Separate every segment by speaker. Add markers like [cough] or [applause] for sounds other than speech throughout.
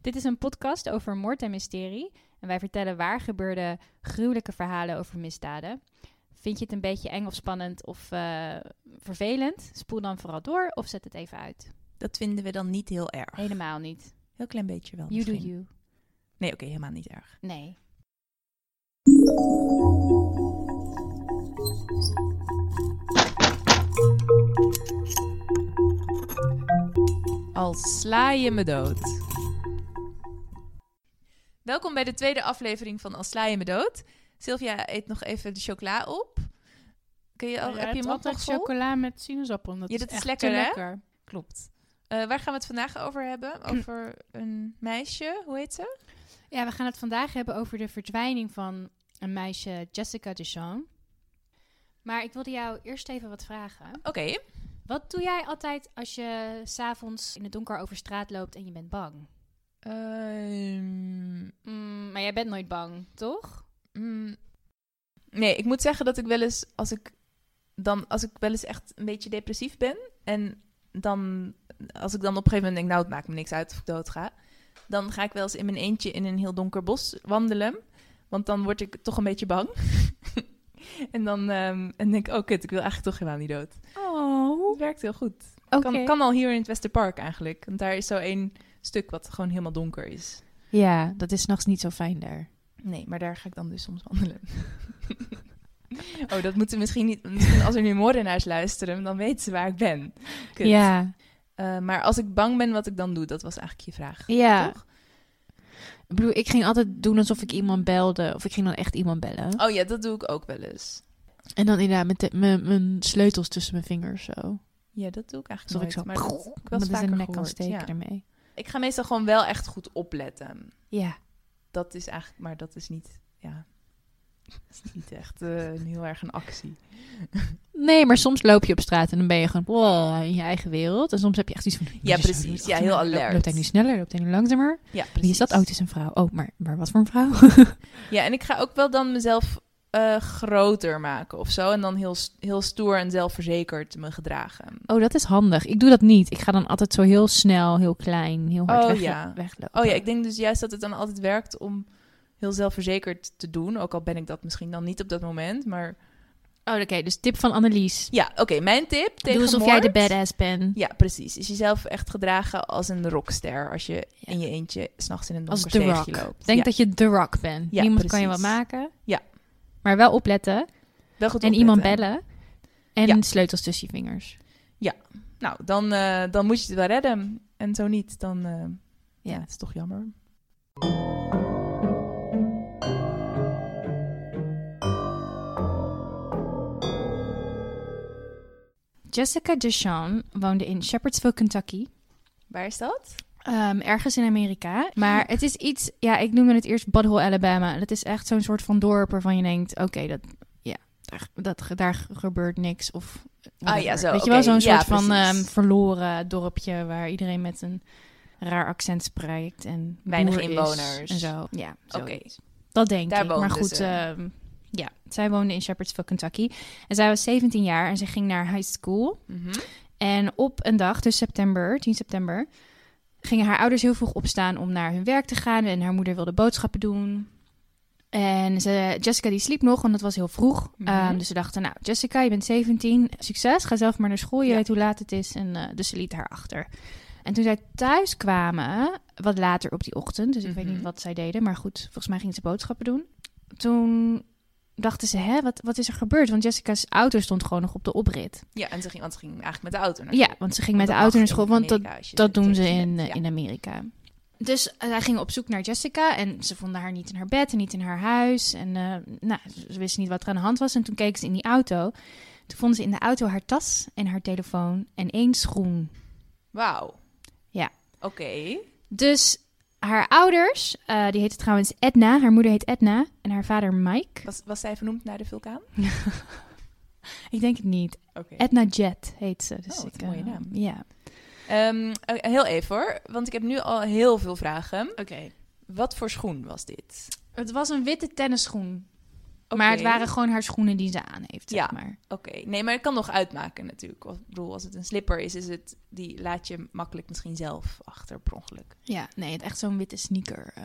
Speaker 1: Dit is een podcast over moord en mysterie. En wij vertellen waar gebeurde gruwelijke verhalen over misdaden. Vind je het een beetje eng of spannend of eh, vervelend? Spoel dan vooral door of zet het even uit.
Speaker 2: Dat vinden we dan niet heel erg.
Speaker 1: Helemaal niet.
Speaker 2: Heel klein beetje wel.
Speaker 1: You do
Speaker 2: misschien.
Speaker 1: you.
Speaker 2: Nee, oké, helemaal niet erg.
Speaker 3: Oh,
Speaker 1: Nee.
Speaker 2: Al sla je me dood. Welkom bij de tweede aflevering van Al sla je me dood. Sylvia eet nog even de chocola op. Kun je al,
Speaker 3: Ja,
Speaker 2: heb je
Speaker 3: het
Speaker 2: mond nog
Speaker 3: altijd
Speaker 2: vol?
Speaker 3: chocola met sinaasappel. Dat
Speaker 2: Ja, dat
Speaker 3: is
Speaker 2: is
Speaker 3: echt
Speaker 2: lekker,
Speaker 3: te
Speaker 2: hè?
Speaker 3: lekker.
Speaker 2: Klopt. Eh, waar gaan we het vandaag over hebben? Over een meisje, hoe heet ze?
Speaker 1: Ja, we gaan het vandaag hebben over de verdwijning van een meisje, Jessica Duchamp. Maar ik wilde jou eerst even wat vragen.
Speaker 2: Oké.
Speaker 1: Wat doe jij altijd als je s'avonds in het donker over straat loopt en je bent bang?
Speaker 2: Ehm,
Speaker 1: Mm, maar jij bent nooit bang, toch?
Speaker 2: Mm. Nee, ik moet zeggen dat ik wel eens als ik dan als ik wel eens echt een beetje depressief ben en dan als ik dan op een gegeven moment denk nou het maakt me niks uit of ik dood ga, dan ga ik wel eens in mijn eentje in een heel donker bos wandelen, want dan word ik toch een beetje bang. [laughs] en dan ehm, en denk ik oh kut, ik wil eigenlijk toch helemaal niet dood.
Speaker 1: Oh,
Speaker 2: Het werkt heel goed.
Speaker 1: oké.
Speaker 2: Kan, kan al hier in het Westerpark eigenlijk, want daar is zo één stuk wat gewoon helemaal donker is.
Speaker 3: Ja, dat is s'nachts niet zo fijn daar.
Speaker 2: Nee, maar daar ga ik dan dus soms wandelen. [laughs] oh, dat moeten misschien niet. Misschien als er nu moordenaars luisteren, dan weten ze waar ik ben. Kut.
Speaker 3: Ja,
Speaker 2: Eh, maar als ik bang ben wat ik dan doe, dat was eigenlijk je vraag.
Speaker 3: ja.
Speaker 2: Toch?
Speaker 3: Ik bedoel, ik ging altijd doen alsof ik iemand belde. Of ik ging dan echt iemand bellen.
Speaker 2: Oh ja, dat doe ik ook wel eens.
Speaker 3: En dan inderdaad met de- mijn- mijn sleutels tussen mijn vingers zo.
Speaker 2: Ja, dat doe ik eigenlijk
Speaker 3: Alsof ik
Speaker 2: nooit.
Speaker 3: zo
Speaker 2: maar dat heb ik wel
Speaker 3: met
Speaker 2: eens
Speaker 3: zijn
Speaker 2: vaker
Speaker 3: nek kan
Speaker 2: gehoord,
Speaker 3: steken
Speaker 2: ja.
Speaker 3: ermee.
Speaker 2: Ik ga meestal gewoon wel echt goed opletten.
Speaker 3: Ja.
Speaker 2: Dat is eigenlijk, maar dat is niet, ja, [laughs] dat is niet echt eh, een heel erg een actie.
Speaker 3: Nee, maar soms loop je op straat en dan ben je gewoon wow, in je eigen wereld. En soms heb je echt iets van...
Speaker 2: Ja,
Speaker 3: jezus,
Speaker 2: precies.
Speaker 3: wie is
Speaker 2: Ja,
Speaker 3: achter
Speaker 2: heel
Speaker 3: mij? Lo-
Speaker 2: alert.
Speaker 3: Loopt hij nu sneller? Loopt hij nu langzamer?
Speaker 2: Ja,
Speaker 3: Wie is dat?
Speaker 2: precies.
Speaker 3: Oh, het is een vrouw. Oh, maar, maar wat voor een vrouw?
Speaker 2: Ja, en ik ga ook wel dan mezelf eh, groter maken of zo. En dan heel, s- heel stoer en zelfverzekerd me gedragen.
Speaker 3: Oh, dat is handig. Ik doe dat niet. Ik ga dan altijd zo heel snel, heel klein, heel hard
Speaker 2: Oh,
Speaker 3: weg,
Speaker 2: ja.
Speaker 3: weglopen.
Speaker 2: Oh ja, ik denk dus juist dat het dan altijd werkt om heel zelfverzekerd te doen. Ook al ben ik dat misschien dan niet op dat moment. Maar
Speaker 3: Oh, oké. dus tip van Annelies.
Speaker 2: ja, oké, mijn tip tegen
Speaker 3: doe alsof
Speaker 2: moord-
Speaker 3: jij de badass bent.
Speaker 2: Ja, precies. Is jezelf echt gedragen als een rockster als je in je eentje s'nachts in een
Speaker 3: Als
Speaker 2: donker
Speaker 3: The Rock.
Speaker 2: steegje loopt.
Speaker 3: Denk
Speaker 2: ja,
Speaker 3: dat je The Rock bent.
Speaker 2: Ja,
Speaker 3: Niemand kan je wat
Speaker 2: precies.
Speaker 3: maken.
Speaker 2: Ja.
Speaker 3: Maar wel opletten.
Speaker 2: wel goed
Speaker 3: En iemand
Speaker 2: opletten.
Speaker 3: bellen. En
Speaker 2: Ja.
Speaker 3: sleutels tussen je vingers.
Speaker 2: Nou, dan, eh, dan moet je het wel redden. En zo niet, dan eh, ja,
Speaker 3: Ja.
Speaker 2: het is toch jammer.
Speaker 1: Jessica Duchamp woonde in Shepherdsville, Kentucky.
Speaker 2: Waar is dat?
Speaker 1: Ehm, ergens in Amerika.
Speaker 2: Ah.
Speaker 1: Maar het is iets, ja, ik noemde het eerst Butthole, Alabama. Dat is echt zo'n soort van dorp waarvan je denkt: oké, dat, ja, daar, dat, daar gebeurt niks. Of whatever.
Speaker 2: Ah, ja, zo,
Speaker 1: Weet
Speaker 2: oké.
Speaker 1: je wel, zo'n
Speaker 2: Ja,
Speaker 1: soort van
Speaker 2: precies.
Speaker 1: ehm, verloren dorpje waar iedereen met een raar accent spreekt en
Speaker 2: Weinig
Speaker 1: boer is
Speaker 2: inwoners.
Speaker 1: En zo. Ja,
Speaker 2: Oké.
Speaker 1: zoiets. Dat denk
Speaker 2: Daar
Speaker 1: ik. Maar
Speaker 2: woonde
Speaker 1: goed,
Speaker 2: ze.
Speaker 1: ehm, ja, zij woonde in Shepherdsville, Kentucky. En zij was 17 jaar en ze ging naar high school.
Speaker 2: Mhm.
Speaker 1: En op een dag, dus september, 10 september, gingen haar ouders heel vroeg opstaan om naar hun werk te gaan. En haar moeder wilde boodschappen doen. En ze, Jessica die sliep nog, want het was heel vroeg.
Speaker 2: Mhm.
Speaker 1: Ehm, dus ze dachten, nou Jessica, je bent 17, succes, ga zelf maar naar school, je
Speaker 2: Ja.
Speaker 1: weet hoe laat het is. En, eh, dus ze liet haar achter. En toen zij thuis kwamen, wat later op die ochtend, dus ik weet
Speaker 2: Mhm.
Speaker 1: niet wat zij deden, maar goed, volgens mij gingen ze boodschappen doen. Toen dachten ze, hè, wat, wat is er gebeurd? Want Jessica's auto stond gewoon nog op de oprit.
Speaker 2: Ja, en ze ging, want ze ging eigenlijk met de auto naar
Speaker 1: Ja,
Speaker 2: school.
Speaker 1: want ze ging met
Speaker 2: Want
Speaker 1: de
Speaker 2: dat
Speaker 1: auto
Speaker 2: mag
Speaker 1: naar
Speaker 2: in
Speaker 1: school, want dat,
Speaker 2: Amerika als je
Speaker 1: dat doen ze
Speaker 2: tiener
Speaker 1: in,
Speaker 2: bent.
Speaker 1: eh,
Speaker 2: Ja.
Speaker 1: in Amerika. Dus eh, zij gingen op zoek naar Jessica en ze vonden haar niet in haar bed en niet in haar huis. En eh, nou, ze wisten niet wat er aan de hand was. En toen keken ze in die auto. Toen vonden ze in de auto haar tas en haar telefoon en één schoen.
Speaker 2: Wauw.
Speaker 1: Ja.
Speaker 2: Oké.
Speaker 1: Dus haar ouders, eh, die heette trouwens Edna, haar moeder heet Edna en haar vader Mike.
Speaker 2: Was, was zij vernoemd naar de vulkaan?
Speaker 1: Ik denk het niet.
Speaker 2: Oké.
Speaker 1: Edna Jet heet ze. Dus
Speaker 2: Oh, wat
Speaker 1: ik,
Speaker 2: een mooie
Speaker 1: eh,
Speaker 2: naam.
Speaker 1: Ja.
Speaker 2: Ehm, eh, heel even hoor, want ik heb nu al heel veel vragen.
Speaker 1: Oké.
Speaker 2: Wat voor schoen was dit?
Speaker 1: Het was een witte tennisschoen. Maar het
Speaker 2: Oké.
Speaker 1: waren gewoon haar schoenen die ze aan heeft, zeg
Speaker 2: Ja.
Speaker 1: maar.
Speaker 2: Oké, nee, maar het kan nog uitmaken natuurlijk. Want, Ik bedoel, als het een slipper is, is het, die laat je makkelijk misschien zelf achter per ongeluk.
Speaker 1: Ja, nee, het echt zo'n witte sneaker. eh.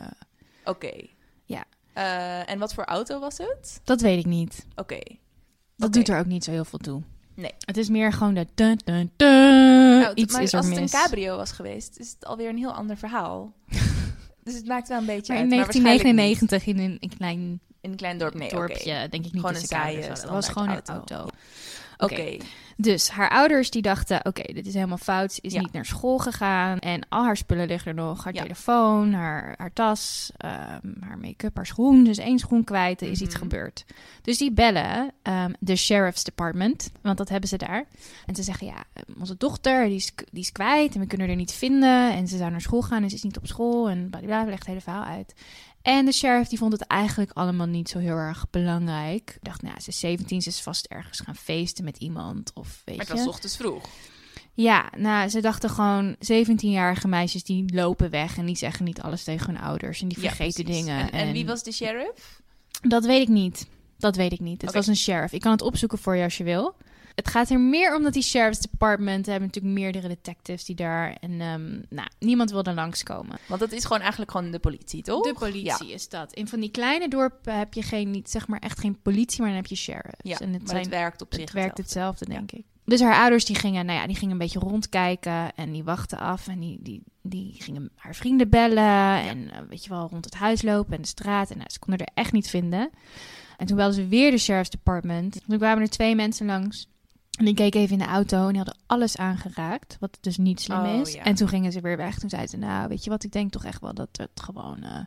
Speaker 2: Oké.
Speaker 1: Ja.
Speaker 2: Eh, en wat voor auto was het?
Speaker 1: dat weet ik niet.
Speaker 2: Oké.
Speaker 1: Dat
Speaker 2: Oké.
Speaker 1: doet er ook niet zo heel veel toe.
Speaker 2: Nee.
Speaker 1: Het is meer gewoon de... dun, dun, dun.
Speaker 2: Nou, t-
Speaker 1: Iets
Speaker 2: maar
Speaker 1: is er
Speaker 2: als het
Speaker 1: mis.
Speaker 2: een cabrio was geweest, is het alweer een heel ander
Speaker 1: [laughs]
Speaker 2: verhaal. dus het maakt wel een beetje
Speaker 1: maar
Speaker 2: uit.
Speaker 1: in
Speaker 2: maar waarschijnlijk
Speaker 1: 1999 in een, een klein
Speaker 2: niet. In een klein dorp, nee,
Speaker 1: dorpje,
Speaker 2: oké.
Speaker 1: denk ik niet.
Speaker 2: Gewoon
Speaker 1: dat
Speaker 2: een
Speaker 1: ze kabels
Speaker 2: saaie
Speaker 1: hadden. Het was gewoon een
Speaker 2: standaard
Speaker 1: auto.
Speaker 2: auto.
Speaker 1: Oké.
Speaker 2: Oké.
Speaker 1: Dus haar ouders die dachten, oké, dit is helemaal fout. Ze is
Speaker 2: Ja.
Speaker 1: niet naar school gegaan. En al haar spullen liggen er nog. Haar
Speaker 2: Ja.
Speaker 1: telefoon, haar, haar tas, ehm, haar make-up, haar schoen. Dus één schoen kwijt, er is iets
Speaker 2: Mhm.
Speaker 1: gebeurd. Dus die bellen ehm, de sheriff's department, want dat hebben ze daar. En ze zeggen, ja, ehm, onze dochter die is, k- die is kwijt en we kunnen haar niet vinden. En ze zou naar school gaan en ze is niet op school. En blablabla, legt het hele verhaal uit. En de sheriff die vond het eigenlijk allemaal niet zo heel erg belangrijk. Ik dacht, nou, ja, ze is 17, ze is vast ergens gaan feesten met iemand. Of weet
Speaker 2: Maar het
Speaker 1: je.
Speaker 2: was 's ochtends vroeg.
Speaker 1: Ja, nou, ze dachten gewoon 17-jarige meisjes die lopen weg en die zeggen niet alles tegen hun ouders en die
Speaker 2: Ja,
Speaker 1: vergeten
Speaker 2: precies.
Speaker 1: dingen.
Speaker 2: En, en wie was de sheriff?
Speaker 1: Dat weet ik niet. Dat weet ik niet. Het
Speaker 2: Oké.
Speaker 1: was een sheriff. Ik kan het opzoeken voor je als je wil. Het gaat er meer om dat die sheriff's department hebben natuurlijk meerdere detectives die daar en ehm, nou, niemand wilde langskomen.
Speaker 2: Want dat is gewoon eigenlijk gewoon de politie, toch?
Speaker 1: De politie is dat. In van die kleine dorpen heb je geen, niet, zeg maar echt geen politie, maar dan heb je sheriffs.
Speaker 2: Ja,
Speaker 1: en het
Speaker 2: maar het
Speaker 1: zijn
Speaker 2: werkt op zich
Speaker 1: het werkt
Speaker 2: hetzelfde.
Speaker 1: hetzelfde,
Speaker 2: Ja.
Speaker 1: denk ik. Dus haar ouders die gingen, nou ja, die gingen een beetje rondkijken en die wachten af en die, die, die gingen haar vrienden bellen en eh, weet je wel, rond het huis lopen en de straat en nou, ze konden er echt niet vinden. En toen belden ze weer de sheriff's department. Toen kwamen er twee mensen langs en die keken even in de auto en die hadden alles aangeraakt, wat dus niet slim
Speaker 2: Oh,
Speaker 1: is.
Speaker 2: ja.
Speaker 1: En toen gingen ze weer weg. Toen zeiden ze, nou, weet je wat, ik denk toch echt wel dat het gewoon, eh,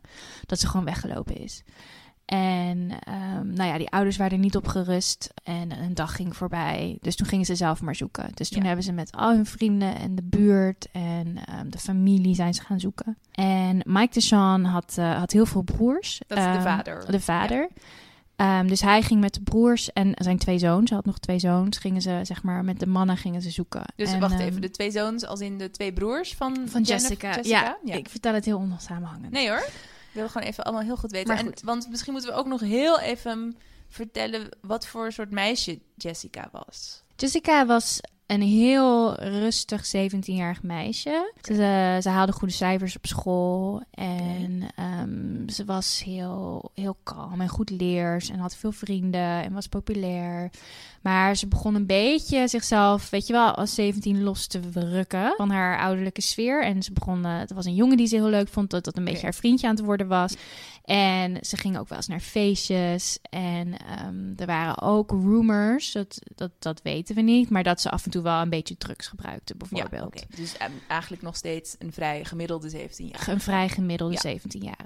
Speaker 1: dat ze gewoon weggelopen is. En ehm, nou ja, die ouders waren er niet op gerust. En een dag ging voorbij. Dus toen gingen ze zelf maar zoeken. Dus toen
Speaker 2: Ja.
Speaker 1: hebben ze met al hun vrienden en de buurt en ehm, de familie zijn ze gaan zoeken. En Mike DeShawn had, eh, had heel veel broers.
Speaker 2: Dat is de
Speaker 1: Ehm,
Speaker 2: vader.
Speaker 1: De vader. Ehm, dus hij ging met de broers en zijn twee zoons. Hij had nog twee zoons. Gingen ze, zeg maar, met de mannen gingen ze zoeken.
Speaker 2: Dus
Speaker 1: En,
Speaker 2: wacht
Speaker 1: ehm,
Speaker 2: even, de twee zoons als in de twee broers van,
Speaker 1: van
Speaker 2: Jennifer-
Speaker 1: Jessica. Ja,
Speaker 2: Jessica?
Speaker 1: ik vertel het heel onsamenhangend.
Speaker 2: Nee hoor. Ik wil gewoon even allemaal heel goed weten.
Speaker 1: Maar
Speaker 2: En,
Speaker 1: goed.
Speaker 2: want misschien moeten we ook nog heel even vertellen wat voor soort meisje Jessica was.
Speaker 1: Jessica was een heel rustig 17-jarig meisje. Ze, ze haalde goede cijfers op school. En ehm, ze was heel, heel kalm en goed leers. En had veel vrienden en was populair. Maar ze begon een beetje zichzelf, weet je wel, als 17 los te rukken van haar ouderlijke sfeer. En ze begon, eh, er was een jongen die ze heel leuk vond, dat dat een beetje
Speaker 2: Oké.
Speaker 1: haar vriendje aan het worden was. En ze ging ook wel eens naar feestjes. En ehm, er waren ook rumors, dat, dat, dat weten we niet, maar dat ze af en toe wel een beetje drugs gebruikte, bijvoorbeeld.
Speaker 2: Ja, oké. Dus ehm, eigenlijk nog steeds een vrij gemiddelde 17 jaar.
Speaker 1: Een vrij gemiddelde
Speaker 2: Ja.
Speaker 1: 17 jaar.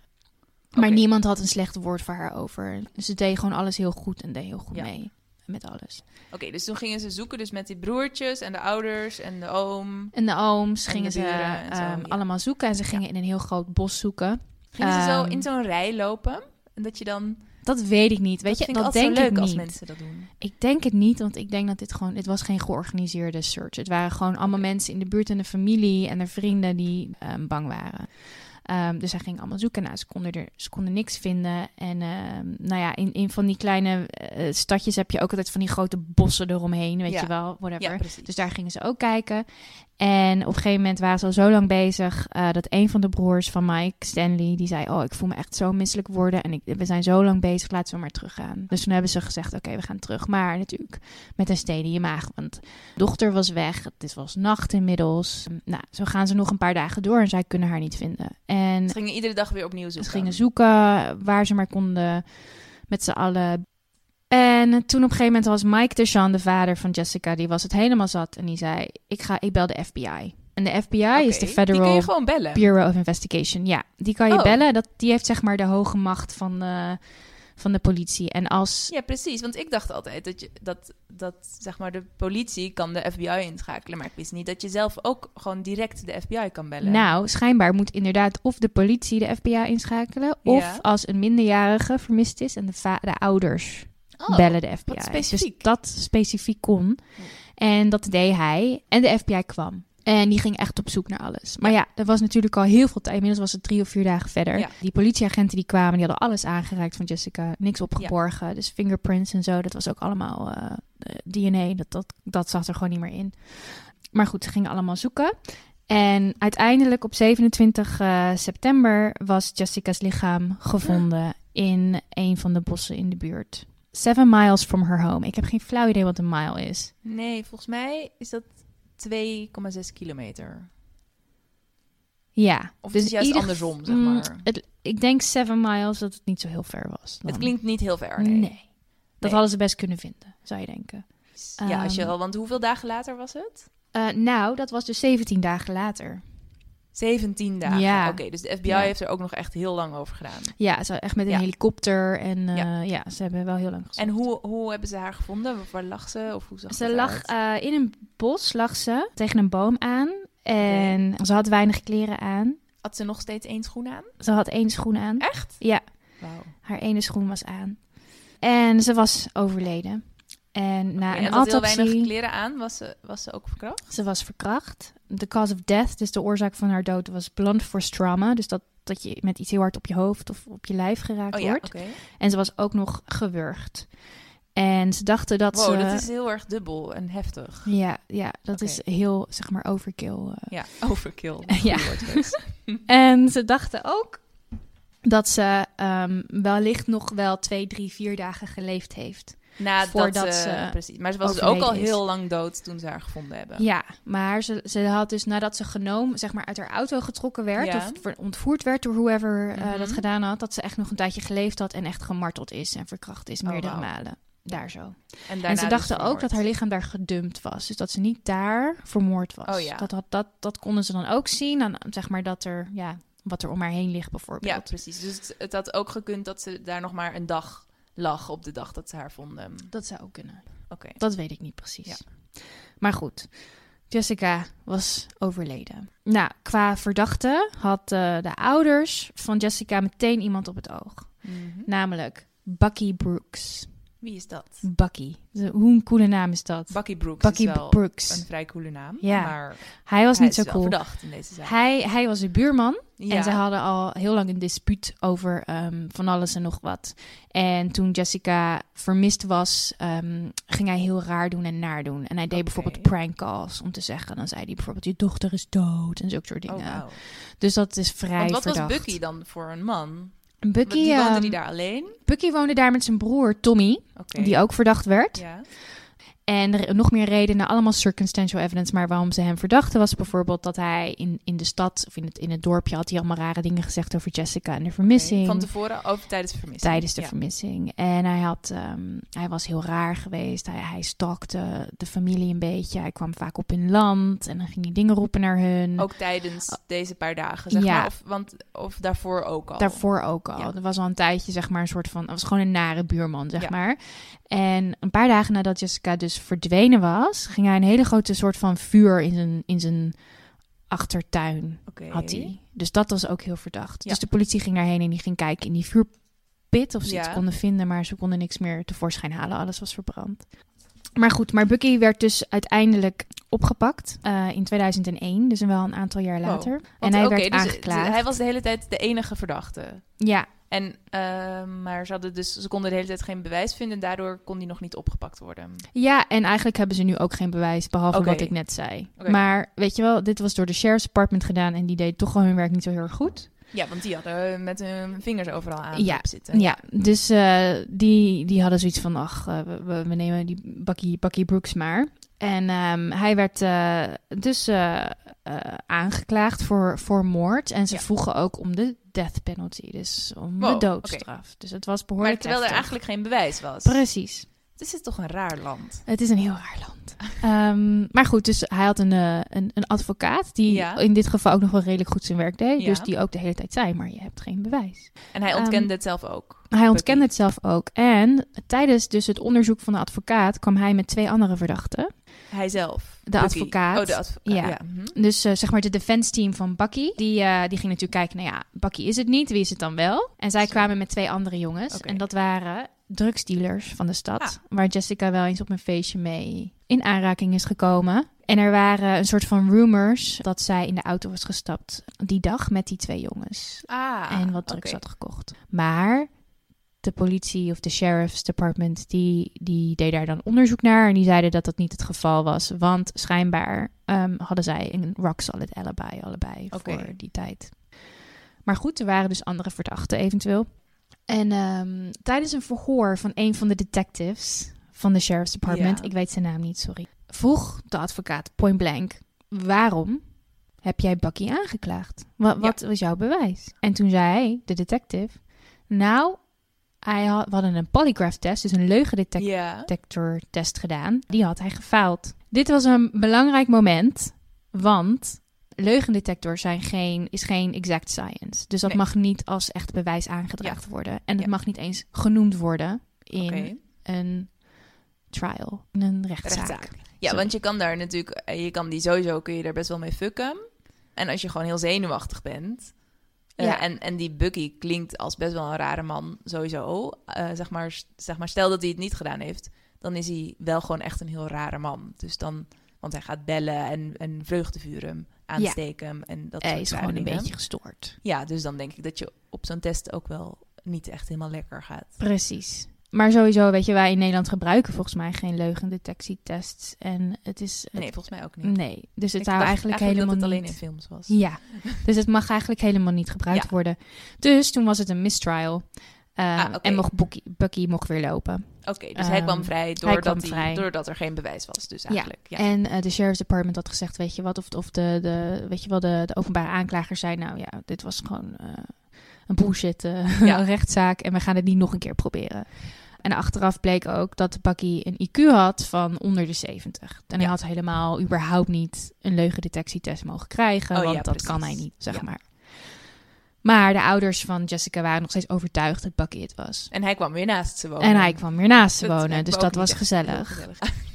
Speaker 2: Oké.
Speaker 1: Maar niemand had een slecht woord voor haar over. Ze deed gewoon alles heel goed en deed heel goed
Speaker 2: Ja.
Speaker 1: mee met alles.
Speaker 2: Oké, dus toen gingen ze zoeken dus met die broertjes en de ouders en de oom.
Speaker 1: En de ooms
Speaker 2: En
Speaker 1: gingen
Speaker 2: de
Speaker 1: ze
Speaker 2: buren en zo,
Speaker 1: ehm,
Speaker 2: ja.
Speaker 1: allemaal zoeken. En ze gingen in een heel groot bos zoeken.
Speaker 2: Gingen ze zo
Speaker 1: Ehm,
Speaker 2: in zo'n rij lopen? En dat je dan...
Speaker 1: Dat weet ik niet. Weet
Speaker 2: dat
Speaker 1: je,
Speaker 2: vind ik
Speaker 1: dat
Speaker 2: altijd
Speaker 1: denk
Speaker 2: zo leuk
Speaker 1: ik
Speaker 2: als
Speaker 1: niet.
Speaker 2: mensen dat doen.
Speaker 1: Ik denk het niet, want ik denk dat dit gewoon... Het was geen georganiseerde search. Het waren gewoon allemaal mensen in de buurt en de familie en de vrienden die ehm, bang waren. Ehm, dus zij gingen allemaal zoeken. Nou, ze konden, er, ze konden niks vinden. En ehm, nou ja, in, in van die kleine eh, stadjes heb je ook altijd van die grote bossen eromheen. Weet
Speaker 2: Ja.
Speaker 1: je wel, whatever.
Speaker 2: Ja, precies.
Speaker 1: Dus daar gingen ze ook kijken. En op een gegeven moment waren ze al zo lang bezig eh, dat een van de broers van Mike, Stanley, die zei: Oh, ik voel me echt zo misselijk worden. En ik, we zijn zo lang bezig, laten we maar teruggaan. Dus toen hebben ze gezegd: Oké, we gaan terug. Maar natuurlijk met een steen in je maag. Want dochter was weg, het was nacht inmiddels. Nou, zo gaan ze nog een paar dagen door en zij kunnen haar niet vinden. En
Speaker 2: Ze gingen iedere dag weer opnieuw zoeken.
Speaker 1: ze gingen zoeken waar ze maar konden met z'n allen. En toen op een gegeven moment was Mike DeShawn, de vader van Jessica, die was het helemaal zat. En die zei, ik, ga, ik bel de FBI. En de FBI is de
Speaker 2: Oké, Die kun
Speaker 1: Federal
Speaker 2: je gewoon bellen.
Speaker 1: Bureau of Investigation. Ja, die kan je
Speaker 2: Oh.
Speaker 1: bellen. Dat, die heeft zeg maar de hoge macht van, eh, van de politie. En als...
Speaker 2: Ja, precies. Want ik dacht altijd dat, je, dat, dat zeg maar, de politie kan de FBI inschakelen. Maar ik wist niet dat je zelf ook gewoon direct de FBI kan bellen.
Speaker 1: Nou, schijnbaar moet inderdaad of de politie de FBI inschakelen... of
Speaker 2: Ja.
Speaker 1: als een minderjarige vermist is en de, va- de ouders
Speaker 2: Oh,
Speaker 1: bellen de FBI.
Speaker 2: specifiek.
Speaker 1: Dus dat specifiek kon.
Speaker 2: Hm.
Speaker 1: En dat deed hij. En de FBI kwam. En die ging echt op zoek naar alles. Maar ja, er was natuurlijk al heel veel tijd. Inmiddels was het drie of vier dagen verder.
Speaker 2: Ja.
Speaker 1: Die politieagenten die kwamen, die hadden alles aangeraakt van Jessica. Niks opgeborgen. Dus fingerprints en zo, dat was ook allemaal eh, eh, DNA. Dat, dat, dat zat er gewoon niet meer in. Maar goed, ze gingen allemaal zoeken. En uiteindelijk op 27 eh, september was Jessica's lichaam
Speaker 2: Ah.
Speaker 1: gevonden in een van de bossen in de buurt. Seven miles from her home. Ik heb geen flauw idee wat een mile is.
Speaker 2: Nee, volgens mij is dat 2,6 kilometer.
Speaker 1: Ja. dus
Speaker 2: Of het is juist andersom, zeg
Speaker 1: Mm,
Speaker 2: maar.
Speaker 1: het- ik denk Seven Miles dat het niet zo heel ver was. dan.
Speaker 2: Het klinkt niet heel ver, nee.
Speaker 1: Nee. Dat
Speaker 2: Nee.
Speaker 1: hadden ze best kunnen vinden, zou je denken.
Speaker 2: Ja, als je
Speaker 1: Ehm.
Speaker 2: al, want hoeveel dagen later was het?
Speaker 1: Eh, nou, dat was dus 17 dagen later.
Speaker 2: 17 dagen.
Speaker 1: Ja.
Speaker 2: Oké, dus de FBI
Speaker 1: Ja.
Speaker 2: heeft er ook nog echt heel lang over gedaan.
Speaker 1: Ja, ze echt met een
Speaker 2: Ja.
Speaker 1: helikopter. En eh, ja.
Speaker 2: Ja.
Speaker 1: ze hebben wel heel lang gezocht.
Speaker 2: En hoe, hoe hebben ze haar gevonden? Waar lag ze? Of hoe zag
Speaker 1: Ze
Speaker 2: het
Speaker 1: lag
Speaker 2: eruit?
Speaker 1: eh, in een bos, lag ze, tegen een boom aan. En ze had weinig kleren aan.
Speaker 2: Had ze nog steeds één schoen aan?
Speaker 1: Ze had één schoen aan.
Speaker 2: Echt?
Speaker 1: Ja.
Speaker 2: Wauw.
Speaker 1: Haar ene schoen was aan. En ze was overleden. En na
Speaker 2: Oké,
Speaker 1: een
Speaker 2: en had heel
Speaker 1: autopsie...
Speaker 2: weinig kleren aan. Was ze, was ze ook verkracht?
Speaker 1: Ze was verkracht. De cause of death, dus de oorzaak van haar dood, was blunt force trauma. Dus dat, dat je met iets heel hard op je hoofd of op je lijf geraakt
Speaker 2: Oh ja,
Speaker 1: wordt.
Speaker 2: oké.
Speaker 1: En ze was ook nog gewurgd. En ze dachten dat
Speaker 2: Wow,
Speaker 1: ze...
Speaker 2: dat is heel erg dubbel en heftig.
Speaker 1: Ja, ja, dat
Speaker 2: Oké.
Speaker 1: is heel, zeg maar, overkill. eh.
Speaker 2: Ja, overkill.
Speaker 1: [laughs] Ja.
Speaker 2: Goeie woordkeus.
Speaker 1: En ze dachten ook dat ze ehm, wellicht nog wel twee, drie, vier dagen geleefd heeft.
Speaker 2: Nadat
Speaker 1: Voordat
Speaker 2: ze...
Speaker 1: ze
Speaker 2: Precies. Maar ze was dus ook al
Speaker 1: overleden is.
Speaker 2: heel lang dood toen ze haar gevonden hebben.
Speaker 1: Ja, maar ze, ze had dus nadat ze genomen, zeg maar, uit haar auto getrokken werd...
Speaker 2: Ja.
Speaker 1: of ver- ontvoerd werd door whoever eh,
Speaker 2: Mhm.
Speaker 1: dat gedaan had... dat ze echt nog een tijdje geleefd had en echt gemarteld is en verkracht is
Speaker 2: Oh,
Speaker 1: meerdere
Speaker 2: wauw.
Speaker 1: malen. Daar zo.
Speaker 2: En, daarna
Speaker 1: en ze
Speaker 2: dus
Speaker 1: dachten ook
Speaker 2: vermoord.
Speaker 1: dat haar lichaam daar gedumpt was. Dus dat ze niet daar vermoord was.
Speaker 2: Oh ja.
Speaker 1: dat, had, dat, dat konden ze dan ook zien. aan zeg maar dat er, ja, wat er om haar heen ligt
Speaker 2: Ja,
Speaker 1: bijvoorbeeld.
Speaker 2: precies. Dus het, het had ook gekund dat ze daar nog maar een dag lag op de dag dat ze haar vonden. Oké.
Speaker 1: Dat zou ook kunnen. Dat weet ik niet precies.
Speaker 2: Ja.
Speaker 1: Maar goed, Jessica was overleden. Nou, qua verdachte had eh, de ouders van Jessica meteen iemand op het oog. Namelijk Bucky Brooks.
Speaker 2: Mhm. Wie is dat?
Speaker 1: Bucky. De- hoe een coole naam is dat?
Speaker 2: Bucky Brooks
Speaker 1: Bucky
Speaker 2: is wel
Speaker 1: Brooks.
Speaker 2: een vrij coole naam.
Speaker 1: Ja.
Speaker 2: Maar
Speaker 1: Hij was
Speaker 2: hij
Speaker 1: niet
Speaker 2: is
Speaker 1: zo
Speaker 2: wel
Speaker 1: cool.
Speaker 2: verdacht in deze zaak.
Speaker 1: Hij, hij was een buurman
Speaker 2: Ja.
Speaker 1: en ze hadden al heel lang een dispuut over ehm, van alles en nog wat. En toen Jessica vermist was, ehm, ging hij heel raar doen en naar doen. En hij deed
Speaker 2: Oké.
Speaker 1: bijvoorbeeld prank calls om te zeggen. Dan zei hij bijvoorbeeld, je dochter is dood en zulke soort dingen.
Speaker 2: Oh, wauw.
Speaker 1: Dus dat is vrij
Speaker 2: Want wat
Speaker 1: verdacht.
Speaker 2: was Bucky dan voor een man?
Speaker 1: Bucky,
Speaker 2: Bucky, die woonde
Speaker 1: ehm,
Speaker 2: die daar alleen?
Speaker 1: Bucky woonde daar met zijn broer Tommy,
Speaker 2: Oké.
Speaker 1: die ook verdacht werd.
Speaker 2: Ja.
Speaker 1: En er, nog meer redenen, allemaal circumstantial evidence. Maar waarom ze hem verdachten was bijvoorbeeld dat hij in, in de stad of in het, in het dorpje had hij allemaal rare dingen gezegd over Jessica en de vermissing.
Speaker 2: Van tevoren of tijdens de vermissing?
Speaker 1: Tijdens de
Speaker 2: Ja.
Speaker 1: vermissing. En hij, had, ehm, hij was heel raar geweest. Hij, hij stalkte de familie een beetje. Hij kwam vaak op hun land en dan ging hij dingen roepen naar hun.
Speaker 2: Ook tijdens deze paar dagen, zeg
Speaker 1: Oh. Ja.
Speaker 2: maar. Of, want, of daarvoor ook al.
Speaker 1: Daarvoor ook al.
Speaker 2: Ja.
Speaker 1: Er was al een tijdje, zeg maar, een soort van. Het was gewoon een nare buurman, zeg
Speaker 2: Ja.
Speaker 1: maar. En een paar dagen nadat Jessica dus verdwenen was, ging hij een hele grote soort van vuur in zijn, in zijn achtertuin.
Speaker 2: Oké.
Speaker 1: Had hij. Dus dat was ook heel verdacht.
Speaker 2: Ja.
Speaker 1: Dus de politie ging daarheen en die ging kijken in die vuurpit of ze
Speaker 2: Ja.
Speaker 1: iets konden vinden, maar ze konden niks meer tevoorschijn halen. Alles was verbrand. Maar goed, maar Bucky werd dus uiteindelijk opgepakt eh, in 2001, dus wel een aantal jaar
Speaker 2: Wow.
Speaker 1: later. en
Speaker 2: Want,
Speaker 1: hij
Speaker 2: oké,
Speaker 1: werd
Speaker 2: dus, eh,
Speaker 1: aangeklaagd.
Speaker 2: Hij was de hele tijd de enige verdachte.
Speaker 1: Ja,
Speaker 2: En, ehm, maar ze, hadden dus, ze konden de hele tijd geen bewijs vinden. Daardoor kon die nog niet opgepakt worden.
Speaker 1: Ja, en eigenlijk hebben ze nu ook geen bewijs, behalve
Speaker 2: Oké.
Speaker 1: wat ik net zei.
Speaker 2: Oké.
Speaker 1: Maar weet je wel, dit was door de sheriff's department gedaan en die deed toch wel hun werk niet zo heel erg goed.
Speaker 2: Ja, want die hadden met hun vingers overal aan
Speaker 1: Ja.
Speaker 2: op zitten.
Speaker 1: Ja, dus eh, die, die hadden zoiets van, ach, eh, we- we, we nemen die Bucky, Bucky Brooks maar. En ehm, hij werd eh, dus eh, eh, aangeklaagd voor, voor moord en ze
Speaker 2: Ja.
Speaker 1: vroegen ook om de death penalty, dus om
Speaker 2: Wow,
Speaker 1: de doodstraf. Dus het was behoorlijk
Speaker 2: Maar terwijl er
Speaker 1: heftig.
Speaker 2: eigenlijk geen bewijs was.
Speaker 1: Precies.
Speaker 2: Dit is toch een raar land.
Speaker 1: Het is een heel raar
Speaker 2: [laughs]
Speaker 1: land. Ehm, maar goed, dus hij had een, eh, een, een advocaat die
Speaker 2: Ja.
Speaker 1: in dit geval ook nog wel redelijk goed zijn werk deed.
Speaker 2: Ja.
Speaker 1: Dus die ook de hele tijd zei, maar je hebt geen bewijs.
Speaker 2: En hij
Speaker 1: Ehm,
Speaker 2: ontkende het zelf ook.
Speaker 1: Hij ontkende het zelf ook. En tijdens dus het onderzoek van de advocaat kwam hij met twee andere verdachten.
Speaker 2: Hij zelf.
Speaker 1: De advocaat.
Speaker 2: Oh, de advocaat.
Speaker 1: Ja.
Speaker 2: Ja. mhm.
Speaker 1: Dus eh, zeg maar de defense team van Bucky, die, eh, die ging natuurlijk kijken, nou ja, Bucky is het niet, wie is het dan wel? En zij
Speaker 2: Zo.
Speaker 1: kwamen met twee andere jongens.
Speaker 2: Oké. Ah.
Speaker 1: En dat waren drugsdealers van de stad, waar Jessica wel eens op een feestje mee in aanraking is gekomen. En er waren een soort van rumors dat zij in de auto was gestapt die dag met die twee jongens.
Speaker 2: Ah,
Speaker 1: en wat drugs
Speaker 2: oké.
Speaker 1: had gekocht. Maar de politie of de sheriff's department, die, die deed daar dan onderzoek naar. En die zeiden dat dat niet het geval was. Want schijnbaar ehm, hadden zij een rock solid alibi allebei
Speaker 2: Oké.
Speaker 1: voor die tijd. Maar goed, er waren dus andere verdachten eventueel. En ehm, tijdens een verhoor van een van de detectives van de sheriff's department,
Speaker 2: Ja.
Speaker 1: ik weet zijn naam niet, sorry, vroeg de advocaat point blank, waarom heb jij Bucky aangeklaagd? Wat, wat was jouw bewijs? En toen zei hij, de detective, nou, hij had, we hadden een polygraph test, dus een leugendetector
Speaker 2: Ja.
Speaker 1: detectortest gedaan. Die had hij gefaald. Dit was een belangrijk moment, want leugendetectors zijn geen, is geen exact science. Dus dat
Speaker 2: Nee.
Speaker 1: mag niet als echt bewijs aangedragen worden. En het
Speaker 2: Ja.
Speaker 1: mag niet eens genoemd worden in
Speaker 2: Oké.
Speaker 1: een trial, in een rechtszaak.
Speaker 2: Rechtszaak. Ja,
Speaker 1: Zo.
Speaker 2: want je kan daar natuurlijk, eh, je kan die sowieso, kun je daar best wel mee fucken. En als je gewoon heel zenuwachtig bent. eh,
Speaker 1: Ja.
Speaker 2: en, en die Bucky klinkt als best wel een rare man, sowieso. Eh, zeg, maar, zeg maar, stel dat hij het niet gedaan heeft, dan is hij wel gewoon echt een heel rare man. Dus dan, want hij gaat bellen en, en vreugdevuren, aansteken hem en dat
Speaker 1: Hij
Speaker 2: soort
Speaker 1: is
Speaker 2: rare
Speaker 1: gewoon een
Speaker 2: dingen.
Speaker 1: beetje gestoord.
Speaker 2: Ja, dus dan denk ik dat je op zo'n test ook wel niet echt helemaal lekker gaat.
Speaker 1: Precies. Maar sowieso, weet je, wij in Nederland gebruiken volgens mij geen leugendetectietests. En het is... het-
Speaker 2: Nee, volgens mij ook niet.
Speaker 1: nee. Dus het
Speaker 2: Ik
Speaker 1: zou
Speaker 2: dacht
Speaker 1: eigenlijk,
Speaker 2: dat
Speaker 1: helemaal
Speaker 2: het alleen
Speaker 1: niet...
Speaker 2: in films was. [laughs]
Speaker 1: Ja, dus het mag eigenlijk helemaal niet gebruikt
Speaker 2: Ja. worden.
Speaker 1: worden. Dus toen was het een mistrial. eh,
Speaker 2: Ah, oké. en
Speaker 1: En
Speaker 2: mocht
Speaker 1: mocht Bucky mocht weer lopen.
Speaker 2: Oké, dus hij kwam
Speaker 1: Ehm,
Speaker 2: vrij
Speaker 1: hij
Speaker 2: doordat,
Speaker 1: kwam
Speaker 2: hij-
Speaker 1: vrij.
Speaker 2: doordat er geen bewijs was, dus eigenlijk. Ja,
Speaker 1: En eh, de sheriff's department had gezegd, weet je wat, of, of de, de, weet je wel, de, de openbare aanklager zei, nou ja, dit was gewoon eh, een bullshit eh, [laughs]
Speaker 2: Ja.
Speaker 1: rechtszaak en we gaan het niet nog een keer proberen. En achteraf bleek ook dat Bucky een IQ had van onder de 70. En hij
Speaker 2: Ja.
Speaker 1: had helemaal überhaupt niet een leugendetectietest mogen krijgen,
Speaker 2: Oh ja,
Speaker 1: want dat
Speaker 2: precies.
Speaker 1: kan hij niet, zeg
Speaker 2: Ja.
Speaker 1: maar. Maar de ouders van Jessica waren nog steeds overtuigd dat Bucky het was.
Speaker 2: En hij kwam weer naast ze wonen.
Speaker 1: En hij kwam weer naast ze
Speaker 2: Oh, Dat
Speaker 1: wonen,
Speaker 2: lijkt
Speaker 1: dus
Speaker 2: me
Speaker 1: dat
Speaker 2: ook
Speaker 1: was
Speaker 2: niet echt
Speaker 1: gezellig.
Speaker 2: heel gezellig. [laughs]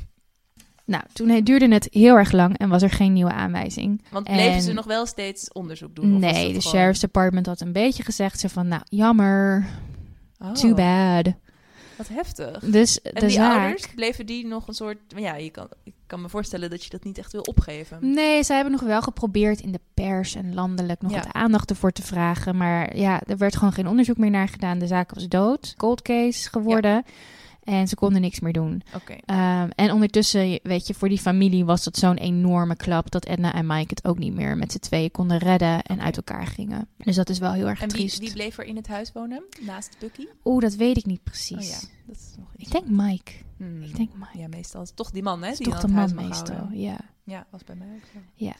Speaker 1: Nou, toen hij duurde het heel erg lang en was er geen nieuwe aanwijzing.
Speaker 2: Want bleven
Speaker 1: En-
Speaker 2: ze nog wel steeds onderzoek doen? of was
Speaker 1: nee,
Speaker 2: dat
Speaker 1: de
Speaker 2: gewoon-
Speaker 1: sheriff's department had een beetje gezegd, ze van, nou, jammer,
Speaker 2: Oh,
Speaker 1: too bad.
Speaker 2: Wat heftig.
Speaker 1: Dus
Speaker 2: En
Speaker 1: de
Speaker 2: die
Speaker 1: zaak...
Speaker 2: ouders, bleven die nog een soort... Ja, je kan, ik kan me voorstellen dat je dat niet echt wil opgeven.
Speaker 1: Nee, zij hebben nog wel geprobeerd in de pers en landelijk nog
Speaker 2: Ja.
Speaker 1: wat aandacht ervoor te vragen. Maar ja, er werd gewoon geen onderzoek meer naar gedaan. De zaak was dood, cold case geworden. En ze konden niks meer doen.
Speaker 2: Oké.
Speaker 1: Ehm, en ondertussen, weet je, voor die familie was dat zo'n enorme klap dat Edna en Mike het ook niet meer met z'n tweeën konden redden en
Speaker 2: Oké.
Speaker 1: uit elkaar gingen. Dus dat is wel heel erg
Speaker 2: En
Speaker 1: triest.
Speaker 2: wie, wie bleef er in het huis wonen? Naast Bucky?
Speaker 1: Oeh, dat weet ik niet
Speaker 2: Oh
Speaker 1: precies.
Speaker 2: ja, dat is nog iets.
Speaker 1: Ik denk Mike.
Speaker 2: Hmm.
Speaker 1: Ik denk Mike.
Speaker 2: Ja, meestal is het toch die man, hè?
Speaker 1: Het
Speaker 2: die
Speaker 1: is toch de
Speaker 2: dan het
Speaker 1: man
Speaker 2: huis mag
Speaker 1: meestal.
Speaker 2: houden.
Speaker 1: Ja.
Speaker 2: Ja, was bij mij ook zo.
Speaker 1: Ja.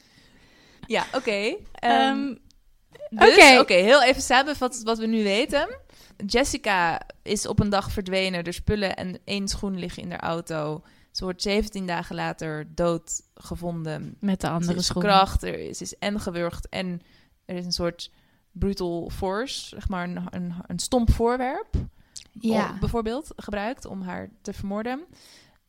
Speaker 2: Ja, oké. Ehm, Dus, oké,
Speaker 1: Oké.
Speaker 2: heel even samenvatten wat we nu weten. Jessica is op een dag verdwenen. Er spullen en één schoen liggen in haar auto. Ze wordt 17 dagen later dood gevonden.
Speaker 1: met de
Speaker 2: Ze
Speaker 1: andere
Speaker 2: is
Speaker 1: schoenen.
Speaker 2: verkracht, er is, ze is en gewurgd en er is een soort brutal force, zeg maar een, een, een stomp voorwerp
Speaker 1: Ja.
Speaker 2: om- bijvoorbeeld gebruikt om haar te vermoorden.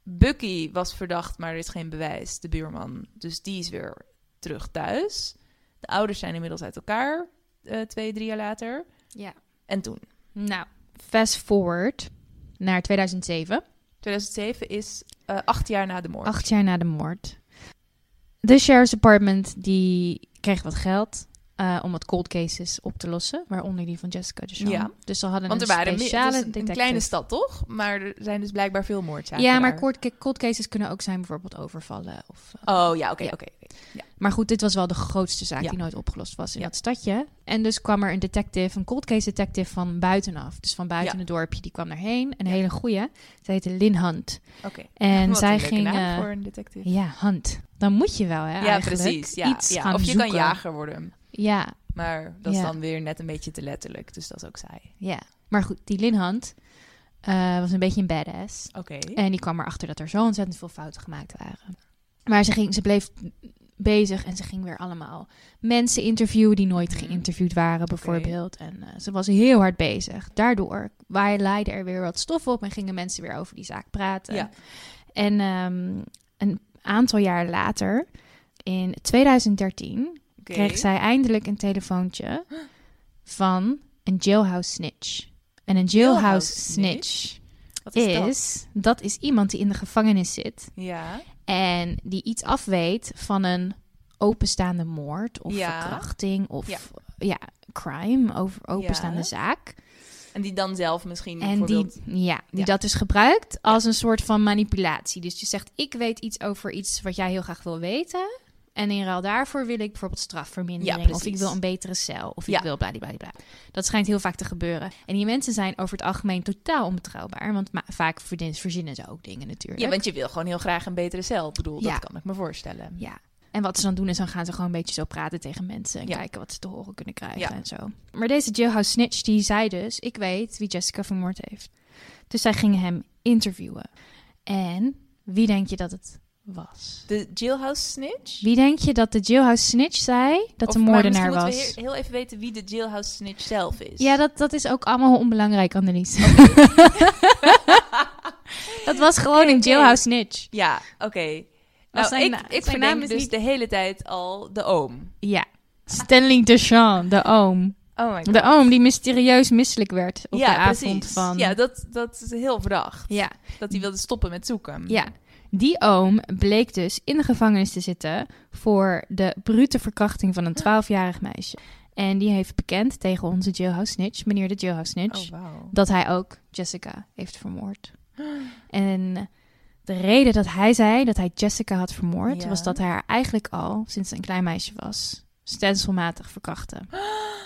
Speaker 2: Bucky was verdacht, maar er is geen bewijs, de buurman. Dus die is weer terug thuis. De ouders zijn inmiddels uit elkaar, eh, twee, drie jaar later.
Speaker 1: ja.
Speaker 2: En toen,
Speaker 1: Nou, fast forward naar 2007.
Speaker 2: 2007 is eh, acht jaar na de moord.
Speaker 1: Acht jaar na de moord. De sheriff's department die kreeg wat geld eh, om wat cold cases op te lossen. Waaronder die van Jessica de
Speaker 2: Ja.
Speaker 1: Dus ze hadden
Speaker 2: Want er
Speaker 1: een
Speaker 2: waren meer-
Speaker 1: speciale
Speaker 2: het is een, een
Speaker 1: detective.
Speaker 2: kleine stad, toch? Maar er zijn dus blijkbaar veel moordzaken
Speaker 1: Ja, maar
Speaker 2: daar.
Speaker 1: cold, ca- cold cases kunnen ook zijn bijvoorbeeld overvallen. Of, eh,
Speaker 2: Oh ja, oké,
Speaker 1: Ja.
Speaker 2: oké. oké.
Speaker 1: Maar goed, dit was wel de grootste zaak
Speaker 2: Ja.
Speaker 1: die nooit opgelost was in
Speaker 2: Ja.
Speaker 1: dat stadje. En dus kwam er een detective, een cold case detective van buitenaf. Dus van buiten
Speaker 2: Ja.
Speaker 1: het dorpje, die kwam daarheen. Een hele goeie. Zij heette Lynn Hunt.
Speaker 2: Oké.
Speaker 1: En
Speaker 2: Wat
Speaker 1: zij
Speaker 2: een leuke
Speaker 1: ging...
Speaker 2: naam
Speaker 1: eh,
Speaker 2: voor een detective.
Speaker 1: ja, Hunt. Dan moet je wel, hè,
Speaker 2: Ja,
Speaker 1: eigenlijk
Speaker 2: precies. Ja,
Speaker 1: iets
Speaker 2: ja.
Speaker 1: gaan
Speaker 2: Of je
Speaker 1: zoeken.
Speaker 2: kan jager worden.
Speaker 1: Ja,
Speaker 2: Maar dat is
Speaker 1: Ja.
Speaker 2: dan weer net een beetje te letterlijk. Dus dat is ook saai.
Speaker 1: ja. Maar goed, die Lynn Hunt eh, was een beetje een badass.
Speaker 2: Oké.
Speaker 1: En die kwam erachter dat er zo ontzettend veel fouten gemaakt waren. Maar ze, ging, ze bleef bezig en ze ging weer allemaal mensen interviewen die nooit
Speaker 2: Mhm.
Speaker 1: geïnterviewd waren, bijvoorbeeld. En eh, ze was heel hard bezig. Daardoor wa- laaide er weer wat stof op en gingen mensen weer over die zaak praten.
Speaker 2: Ja.
Speaker 1: En ehm, een aantal jaar later, in 2013,
Speaker 2: Oké.
Speaker 1: kreeg zij eindelijk een telefoontje van een jailhouse snitch. En een jailhouse,
Speaker 2: Jailhouse
Speaker 1: snitch
Speaker 2: Wat is,
Speaker 1: is, dat? is iemand die in de gevangenis zit
Speaker 2: dat? Ja.
Speaker 1: En die iets afweet van een openstaande moord of
Speaker 2: Ja.
Speaker 1: verkrachting of
Speaker 2: Ja.
Speaker 1: ja. crime, over openstaande
Speaker 2: Ja.
Speaker 1: zaak.
Speaker 2: En die dan zelf misschien
Speaker 1: En die,
Speaker 2: bijvoorbeeld...
Speaker 1: ja, die
Speaker 2: Ja.
Speaker 1: dat dus gebruikt als een soort van manipulatie. Dus je zegt, ik weet iets over iets wat jij heel graag wil weten. En in ruil daarvoor wil ik bijvoorbeeld
Speaker 2: Ja,
Speaker 1: strafvermindering.
Speaker 2: precies.
Speaker 1: of ik wil een betere cel. Of ik
Speaker 2: Ja.
Speaker 1: wil bladibladibla. Dat schijnt heel vaak te gebeuren. En die mensen zijn over het algemeen totaal onbetrouwbaar. Want ma- vaak verdienen- verzinnen ze ook dingen natuurlijk.
Speaker 2: Ja, want je wil gewoon heel graag een betere cel. Ik bedoel,
Speaker 1: Ja.
Speaker 2: dat kan ik me voorstellen.
Speaker 1: Ja. En wat ze dan doen is dan gaan ze gewoon een beetje zo praten tegen mensen. En
Speaker 2: Ja.
Speaker 1: kijken wat ze te horen kunnen krijgen
Speaker 2: Ja.
Speaker 1: en zo. Maar deze jailhouse snitch die zei dus... Ik weet wie Jessica vermoord heeft. Dus zij gingen hem interviewen. En wie denk je dat het was?
Speaker 2: De jailhouse snitch?
Speaker 1: Wie denk je dat de jailhouse snitch zei dat
Speaker 2: Of-
Speaker 1: de
Speaker 2: maar
Speaker 1: moordenaar
Speaker 2: misschien
Speaker 1: was?
Speaker 2: moeten we he- heel even weten wie de jailhouse snitch zelf is.
Speaker 1: Ja, dat, dat is ook allemaal onbelangrijk, Annelies. [laughs] dat was gewoon een
Speaker 2: oké.
Speaker 1: jailhouse snitch.
Speaker 2: [laughs] Ja, oké. Nou,
Speaker 1: zijn
Speaker 2: ik,
Speaker 1: na-
Speaker 2: ik
Speaker 1: zijn
Speaker 2: verneem
Speaker 1: naam is
Speaker 2: dus
Speaker 1: niet-
Speaker 2: de hele tijd al de oom.
Speaker 1: Ja. Stanley Deschamps, de oom.
Speaker 2: Oh my
Speaker 1: De oom die mysterieus misselijk werd op de avond van...
Speaker 2: Ja, dat, dat is heel verdacht.
Speaker 1: Ja,
Speaker 2: Dat hij wilde stoppen met zoeken.
Speaker 1: ja. Die oom bleek dus in de gevangenis te zitten voor de brute verkrachting van een 12-jarig meisje. En die heeft bekend tegen onze jailhouse snitch, meneer de jailhouse snitch,
Speaker 2: Oh, wauw.
Speaker 1: dat hij ook Jessica heeft
Speaker 2: [gasps]
Speaker 1: vermoord. En de reden dat hij zei dat hij Jessica had vermoord,
Speaker 2: Ja.
Speaker 1: was dat hij haar eigenlijk al, sinds ze een klein meisje was, stelselmatig verkrachtte.
Speaker 2: [gasps]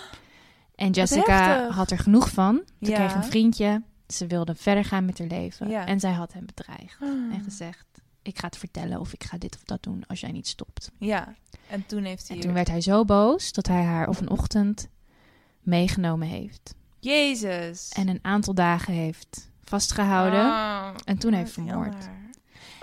Speaker 1: En Jessica
Speaker 2: heftig.
Speaker 1: had er genoeg van. Ze
Speaker 2: Ja.
Speaker 1: kreeg een vriendje. Ze wilde verder gaan met haar leven.
Speaker 2: Ja.
Speaker 1: En zij had hem bedreigd.
Speaker 2: Ah.
Speaker 1: En gezegd, ik ga het vertellen of ik ga dit of dat doen als jij niet stopt.
Speaker 2: Ja, en toen heeft hij...
Speaker 1: En toen werd hij zo boos dat hij haar op een ochtend meegenomen heeft.
Speaker 2: Jezus.
Speaker 1: En een aantal dagen heeft vastgehouden.
Speaker 2: Ah,
Speaker 1: en toen heeft
Speaker 2: wat
Speaker 1: vermoord.
Speaker 2: jammer.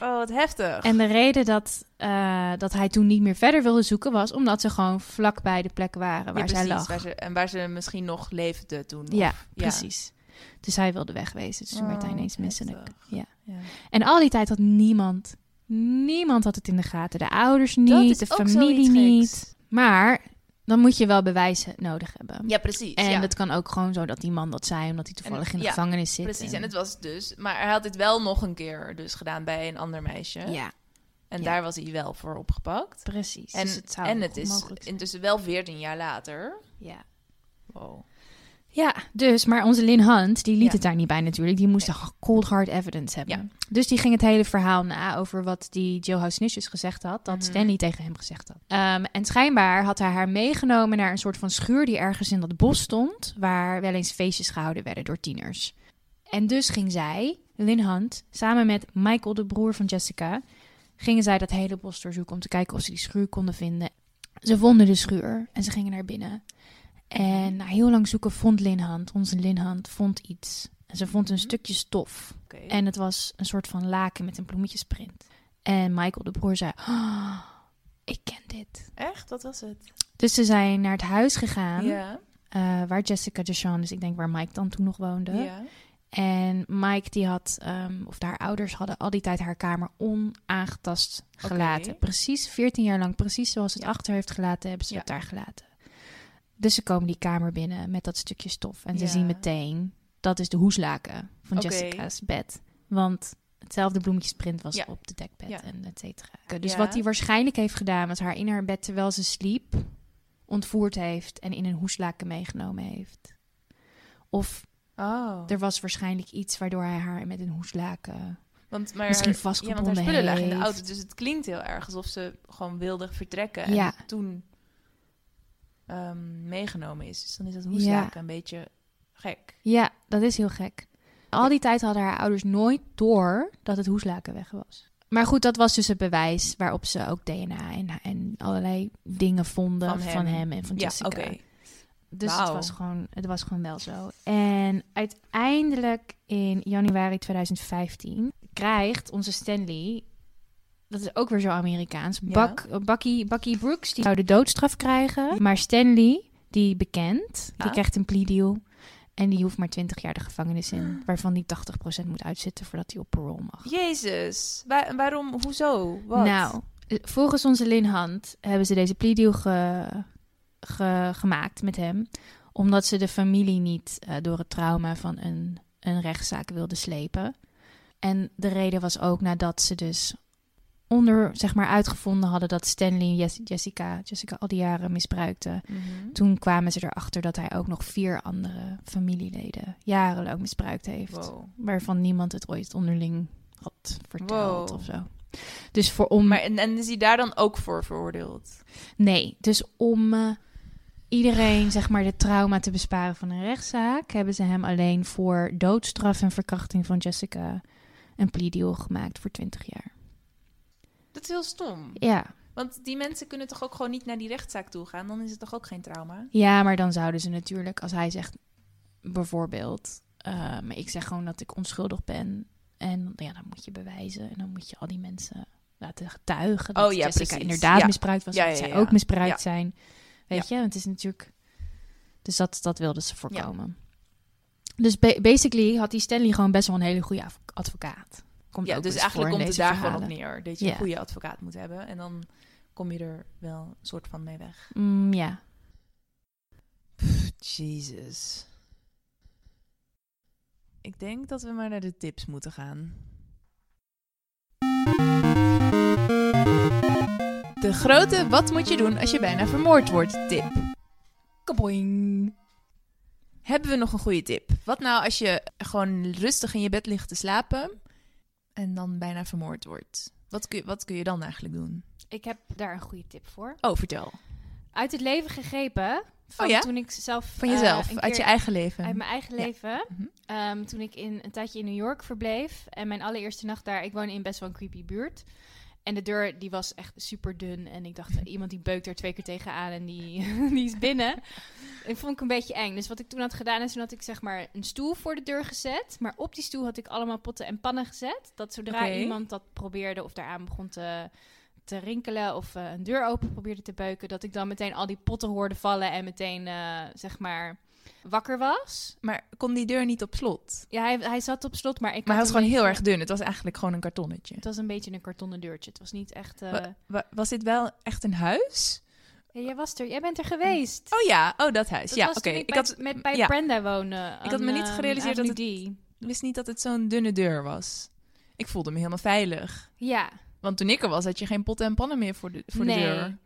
Speaker 2: Oh, wat heftig.
Speaker 1: En de reden dat, eh, dat hij toen niet meer verder wilde zoeken was omdat ze gewoon vlakbij de plek waren waar
Speaker 2: Ja,
Speaker 1: zij lag.
Speaker 2: precies, waar ze- en waar ze misschien nog leefde toen.
Speaker 1: Ja,
Speaker 2: of-
Speaker 1: precies. Dus hij wilde wegwezen. Dus toen werd hij
Speaker 2: Oh,
Speaker 1: ineens misselijk.
Speaker 2: heftig.
Speaker 1: Ja.
Speaker 2: Ja.
Speaker 1: En al die tijd had niemand, niemand had het in de gaten. De ouders
Speaker 2: Dat
Speaker 1: niet,
Speaker 2: is
Speaker 1: de
Speaker 2: ook
Speaker 1: familie
Speaker 2: zoiets
Speaker 1: niet.
Speaker 2: geks.
Speaker 1: Maar dan moet je wel bewijzen nodig hebben.
Speaker 2: Ja, precies.
Speaker 1: en
Speaker 2: ja.
Speaker 1: dat kan ook gewoon zo dat die man dat zei, omdat hij toevallig in de
Speaker 2: ja,
Speaker 1: gevangenis zit.
Speaker 2: Precies, en het was dus... Maar hij had dit wel nog een keer dus gedaan bij een ander meisje.
Speaker 1: Ja,
Speaker 2: En
Speaker 1: ja.
Speaker 2: daar was hij wel voor opgepakt.
Speaker 1: precies.
Speaker 2: En
Speaker 1: dus het zou
Speaker 2: en
Speaker 1: ook
Speaker 2: het is
Speaker 1: onmogelijk zijn.
Speaker 2: intussen wel 14 jaar later.
Speaker 1: Ja.
Speaker 2: Wow.
Speaker 1: Ja, dus, maar onze Lin Hunt, die liet
Speaker 2: Ja.
Speaker 1: het daar niet bij natuurlijk. Die moest toch cold hard evidence hebben. Dus die ging het hele verhaal na over wat die jailhouse Snitch dus gezegd had. Dat
Speaker 2: Mhm.
Speaker 1: Stanley tegen hem gezegd had. Ehm, en schijnbaar had hij haar meegenomen naar een soort van schuur die ergens in dat bos stond. Waar wel eens feestjes gehouden werden door tieners. En dus ging zij, Lin Hunt, samen met Michael, de broer van Jessica... gingen zij dat hele bos doorzoeken om te kijken of ze die schuur konden vinden. Ze vonden de schuur en ze gingen naar binnen. En na heel lang zoeken vond Linhand, onze Linhand, vond iets. En ze vond een
Speaker 2: Mhm.
Speaker 1: stukje stof.
Speaker 2: Oké.
Speaker 1: En het was een soort van laken met een bloemetjesprint. En Michael, de broer, zei... "Oh, ik ken dit.
Speaker 2: Echt? Wat was het?
Speaker 1: Dus ze zijn naar het huis gegaan...
Speaker 2: Ja.
Speaker 1: eh, waar Jessica Deshawn, dus ik denk waar Mike dan toen nog woonde...
Speaker 2: ja.
Speaker 1: En Mike die had, ehm, of haar ouders hadden al die tijd haar kamer onaangetast gelaten.
Speaker 2: Oké.
Speaker 1: Precies 14 jaar lang, precies zoals het
Speaker 2: Ja.
Speaker 1: achter heeft gelaten, hebben ze
Speaker 2: Ja.
Speaker 1: het daar gelaten. Dus ze komen die kamer binnen met dat stukje stof. En ze
Speaker 2: Ja.
Speaker 1: zien meteen, dat is de hoeslaken van
Speaker 2: Oké.
Speaker 1: Jessica's bed. Want hetzelfde bloemetjesprint was
Speaker 2: Ja.
Speaker 1: op de dekbed
Speaker 2: Ja.
Speaker 1: en et cetera. Dus
Speaker 2: Ja.
Speaker 1: wat hij waarschijnlijk heeft gedaan, was haar in haar bed terwijl ze sliep ontvoerd heeft en in een hoeslaken meegenomen heeft. Of
Speaker 2: Oh.
Speaker 1: er was waarschijnlijk iets waardoor hij haar met een eh, hoeslaken.
Speaker 2: Want, maar
Speaker 1: misschien
Speaker 2: Ja,
Speaker 1: vastgebonden
Speaker 2: want haar spullen lagen in de
Speaker 1: heeft.
Speaker 2: auto. Dus het klinkt heel erg alsof ze gewoon wilde vertrekken.
Speaker 1: Ja.
Speaker 2: En toen ehm, meegenomen is. Dus dan is dat hoeslaken een beetje gek.
Speaker 1: Ja, dat is heel gek. Al die tijd hadden haar ouders nooit door dat het hoeslaken weg was. Maar goed, dat was dus het bewijs waarop ze ook DNA en, en allerlei dingen vonden
Speaker 2: Van
Speaker 1: van
Speaker 2: hem.
Speaker 1: hem, en van
Speaker 2: Ja,
Speaker 1: Jessica.
Speaker 2: oké.
Speaker 1: Dus het,
Speaker 2: Wauw.
Speaker 1: was gewoon, het was gewoon wel zo. En uiteindelijk in januari 2015 krijgt onze Stanley, dat is ook weer zo Amerikaans,
Speaker 2: Ja.
Speaker 1: Buck, eh, Bucky, Bucky Brooks, die zou de doodstraf krijgen. Maar Stanley, die bekend,
Speaker 2: Ja.
Speaker 1: die krijgt een plea deal. En die hoeft maar 20 jaar de gevangenis in, waarvan die 80% moet uitzitten voordat hij op parole mag.
Speaker 2: Jezus. Wa- waarom? Hoezo? Wat?
Speaker 1: Nou, l- volgens onze Lin Hand hebben ze deze plea deal ge, ge- gemaakt met hem. Omdat ze de familie niet eh, door het trauma van een, een rechtszaak wilden slepen. En de reden was ook nadat ze dus onder, zeg maar, uitgevonden hadden dat Stanley en Jes- Jessica, Jessica al die jaren misbruikte.
Speaker 2: Mhm.
Speaker 1: Toen kwamen ze erachter dat hij ook nog vier andere familieleden jarenlang misbruikt heeft.
Speaker 2: Wow.
Speaker 1: Waarvan niemand het ooit onderling had verteld
Speaker 2: Wow.
Speaker 1: of zo. Dus voor om...
Speaker 2: Maar, en, en is hij daar dan ook voor veroordeeld?
Speaker 1: Nee, dus om eh, iedereen zeg maar de trauma te besparen van een rechtszaak, hebben ze hem alleen voor doodstraf en verkrachting van Jessica een plea deal gemaakt voor 20 jaar.
Speaker 2: Dat is heel stom.
Speaker 1: Ja.
Speaker 2: Want die mensen kunnen toch ook gewoon niet naar die rechtszaak toe gaan? Dan is het toch ook geen trauma?
Speaker 1: ja, maar dan zouden ze natuurlijk, als hij zegt bijvoorbeeld, eh, maar ik zeg gewoon dat ik onschuldig ben. En ja, dan moet je bewijzen en dan moet je al die mensen laten getuigen dat
Speaker 2: Oh ja,
Speaker 1: Jessica
Speaker 2: precies.
Speaker 1: inderdaad
Speaker 2: Ja.
Speaker 1: misbruikt was,
Speaker 2: Ja,
Speaker 1: dat
Speaker 2: ja,
Speaker 1: zij
Speaker 2: ja.
Speaker 1: ook misbruikt
Speaker 2: Ja.
Speaker 1: zijn. Weet je, want het is natuurlijk... Dus dat, dat wilden ze voorkomen. Dus ba- basically had die Stanley gewoon best wel een hele goede adv- advocaat. Komt
Speaker 2: Ja,
Speaker 1: ook
Speaker 2: dus
Speaker 1: wel eens voor in
Speaker 2: eigenlijk komt het
Speaker 1: deze
Speaker 2: daar
Speaker 1: verhalen.
Speaker 2: gewoon op neer. Dat je
Speaker 1: Ja.
Speaker 2: een goede advocaat moet hebben. En dan kom je er wel een soort van mee weg.
Speaker 1: Mm, ja.
Speaker 2: Jezus. Ik denk dat we maar naar de tips moeten gaan. De grote wat moet je doen als je bijna vermoord wordt tip. Kaboing. Hebben we nog een goede tip? Wat nou als je gewoon rustig in je bed ligt te slapen en dan bijna vermoord wordt? Wat kun je, wat kun je dan eigenlijk doen?
Speaker 1: Ik heb daar een goede tip voor.
Speaker 2: Oh, vertel.
Speaker 1: Uit het leven gegrepen. Van
Speaker 2: Oh ja?
Speaker 1: Toen ik zelf...
Speaker 2: Van
Speaker 1: eh,
Speaker 2: jezelf,
Speaker 1: een
Speaker 2: uit je
Speaker 1: keer-
Speaker 2: eigen leven.
Speaker 1: Uit mijn eigen
Speaker 2: Ja.
Speaker 1: leven.
Speaker 2: Mhm.
Speaker 1: Ehm, toen ik in, een tijdje in New York verbleef. En mijn allereerste nacht daar. Ik woon in best wel een creepy buurt. En de deur die was echt super dun. En ik dacht, iemand die beukt er twee keer tegenaan en die, [laughs] die is binnen. Ik vond ik een beetje eng. Dus wat ik toen had gedaan is, toen had ik zeg maar een stoel voor de deur gezet. Maar op die stoel had ik allemaal potten en pannen gezet. Dat zodra
Speaker 2: Oké.
Speaker 1: iemand dat probeerde of daaraan begon te, te rinkelen of eh, een deur open probeerde te beuken, dat ik dan meteen al die potten hoorde vallen en meteen eh, zeg maar wakker was.
Speaker 2: Maar kon die deur niet op slot?
Speaker 1: Ja, hij, hij zat op slot, maar ik.
Speaker 2: Maar hij
Speaker 1: had
Speaker 2: was
Speaker 1: een
Speaker 2: gewoon heel erg
Speaker 1: beetje-
Speaker 2: dun. Het was eigenlijk gewoon een kartonnetje.
Speaker 1: Het was een beetje een kartonnen deurtje. Het was niet echt. eh,
Speaker 2: Wa- wa- was dit wel echt een huis?
Speaker 1: ja, jij was er. Jij bent er geweest.
Speaker 2: Oh ja, oh dat huis.
Speaker 1: Dat
Speaker 2: ja,
Speaker 1: was
Speaker 2: oké.
Speaker 1: toen ik,
Speaker 2: Ik
Speaker 1: bij,
Speaker 2: had,
Speaker 1: met, bij
Speaker 2: ja.
Speaker 1: Brenda woonde.
Speaker 2: Ik had me
Speaker 1: aan,
Speaker 2: niet
Speaker 1: eh,
Speaker 2: gerealiseerd dat
Speaker 1: Avenue D.
Speaker 2: wist niet dat het zo'n dunne deur was. Ik voelde me helemaal veilig.
Speaker 1: Ja.
Speaker 2: Want toen ik er was, had je geen potten en pannen meer voor de, voor
Speaker 1: Nee.
Speaker 2: de deur.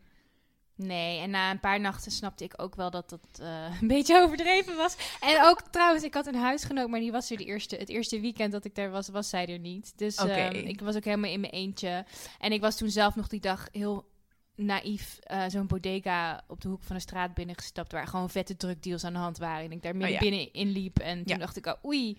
Speaker 1: Nee, en na een paar nachten snapte ik ook wel dat dat eh, [laughs] een beetje overdreven was. En ook trouwens, ik had een huisgenoot, maar die was er de eerste, het eerste weekend dat ik daar was, was zij er niet. Dus
Speaker 2: Oké.
Speaker 1: ehm, ik was ook helemaal in mijn eentje. En ik was toen zelf nog die dag heel naïef eh, zo'n bodega op de hoek van de straat binnengestapt... waar gewoon vette drugdeals aan de hand waren. En ik daar midden
Speaker 2: Oh ja.
Speaker 1: binnen in liep. En toen
Speaker 2: Ja.
Speaker 1: dacht ik, oh, oei,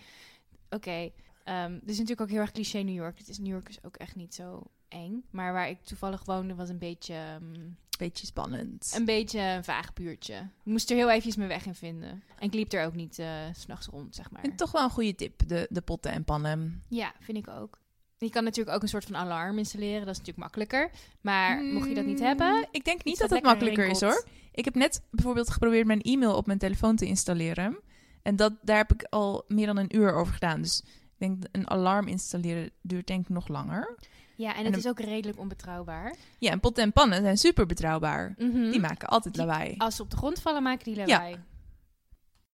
Speaker 1: oké. Ehm, dit is natuurlijk ook heel erg cliché New York. Het is, New York is ook echt niet zo eng. Maar waar ik toevallig woonde was een beetje... ehm,
Speaker 2: Beetje spannend.
Speaker 1: een beetje een vaag buurtje. Ik moest er heel eventjes mijn weg in vinden. En ik liep er ook niet eh, s s'nachts rond, zeg maar.
Speaker 2: En toch wel een goede tip, de, de potten en pannen.
Speaker 1: Ja, vind ik ook. Je kan natuurlijk ook een soort van alarm installeren. Dat is natuurlijk makkelijker. Maar mocht je dat niet
Speaker 2: Mm,
Speaker 1: hebben...
Speaker 2: Ik denk niet
Speaker 1: iets
Speaker 2: dat
Speaker 1: wat
Speaker 2: het
Speaker 1: lekker
Speaker 2: makkelijker is
Speaker 1: rinkelt.
Speaker 2: hoor. Ik heb net bijvoorbeeld geprobeerd mijn e-mail op mijn telefoon te installeren. En dat, daar heb ik al meer dan een uur over gedaan. Dus ik denk een alarm installeren duurt denk ik nog langer.
Speaker 1: Ja, en
Speaker 2: En
Speaker 1: het
Speaker 2: een-
Speaker 1: is ook redelijk onbetrouwbaar.
Speaker 2: Ja, en potten en pannen zijn super betrouwbaar.
Speaker 1: Mhm.
Speaker 2: Die maken altijd
Speaker 1: Die-
Speaker 2: lawaai.
Speaker 1: Als ze op de grond vallen, maken die lawaai.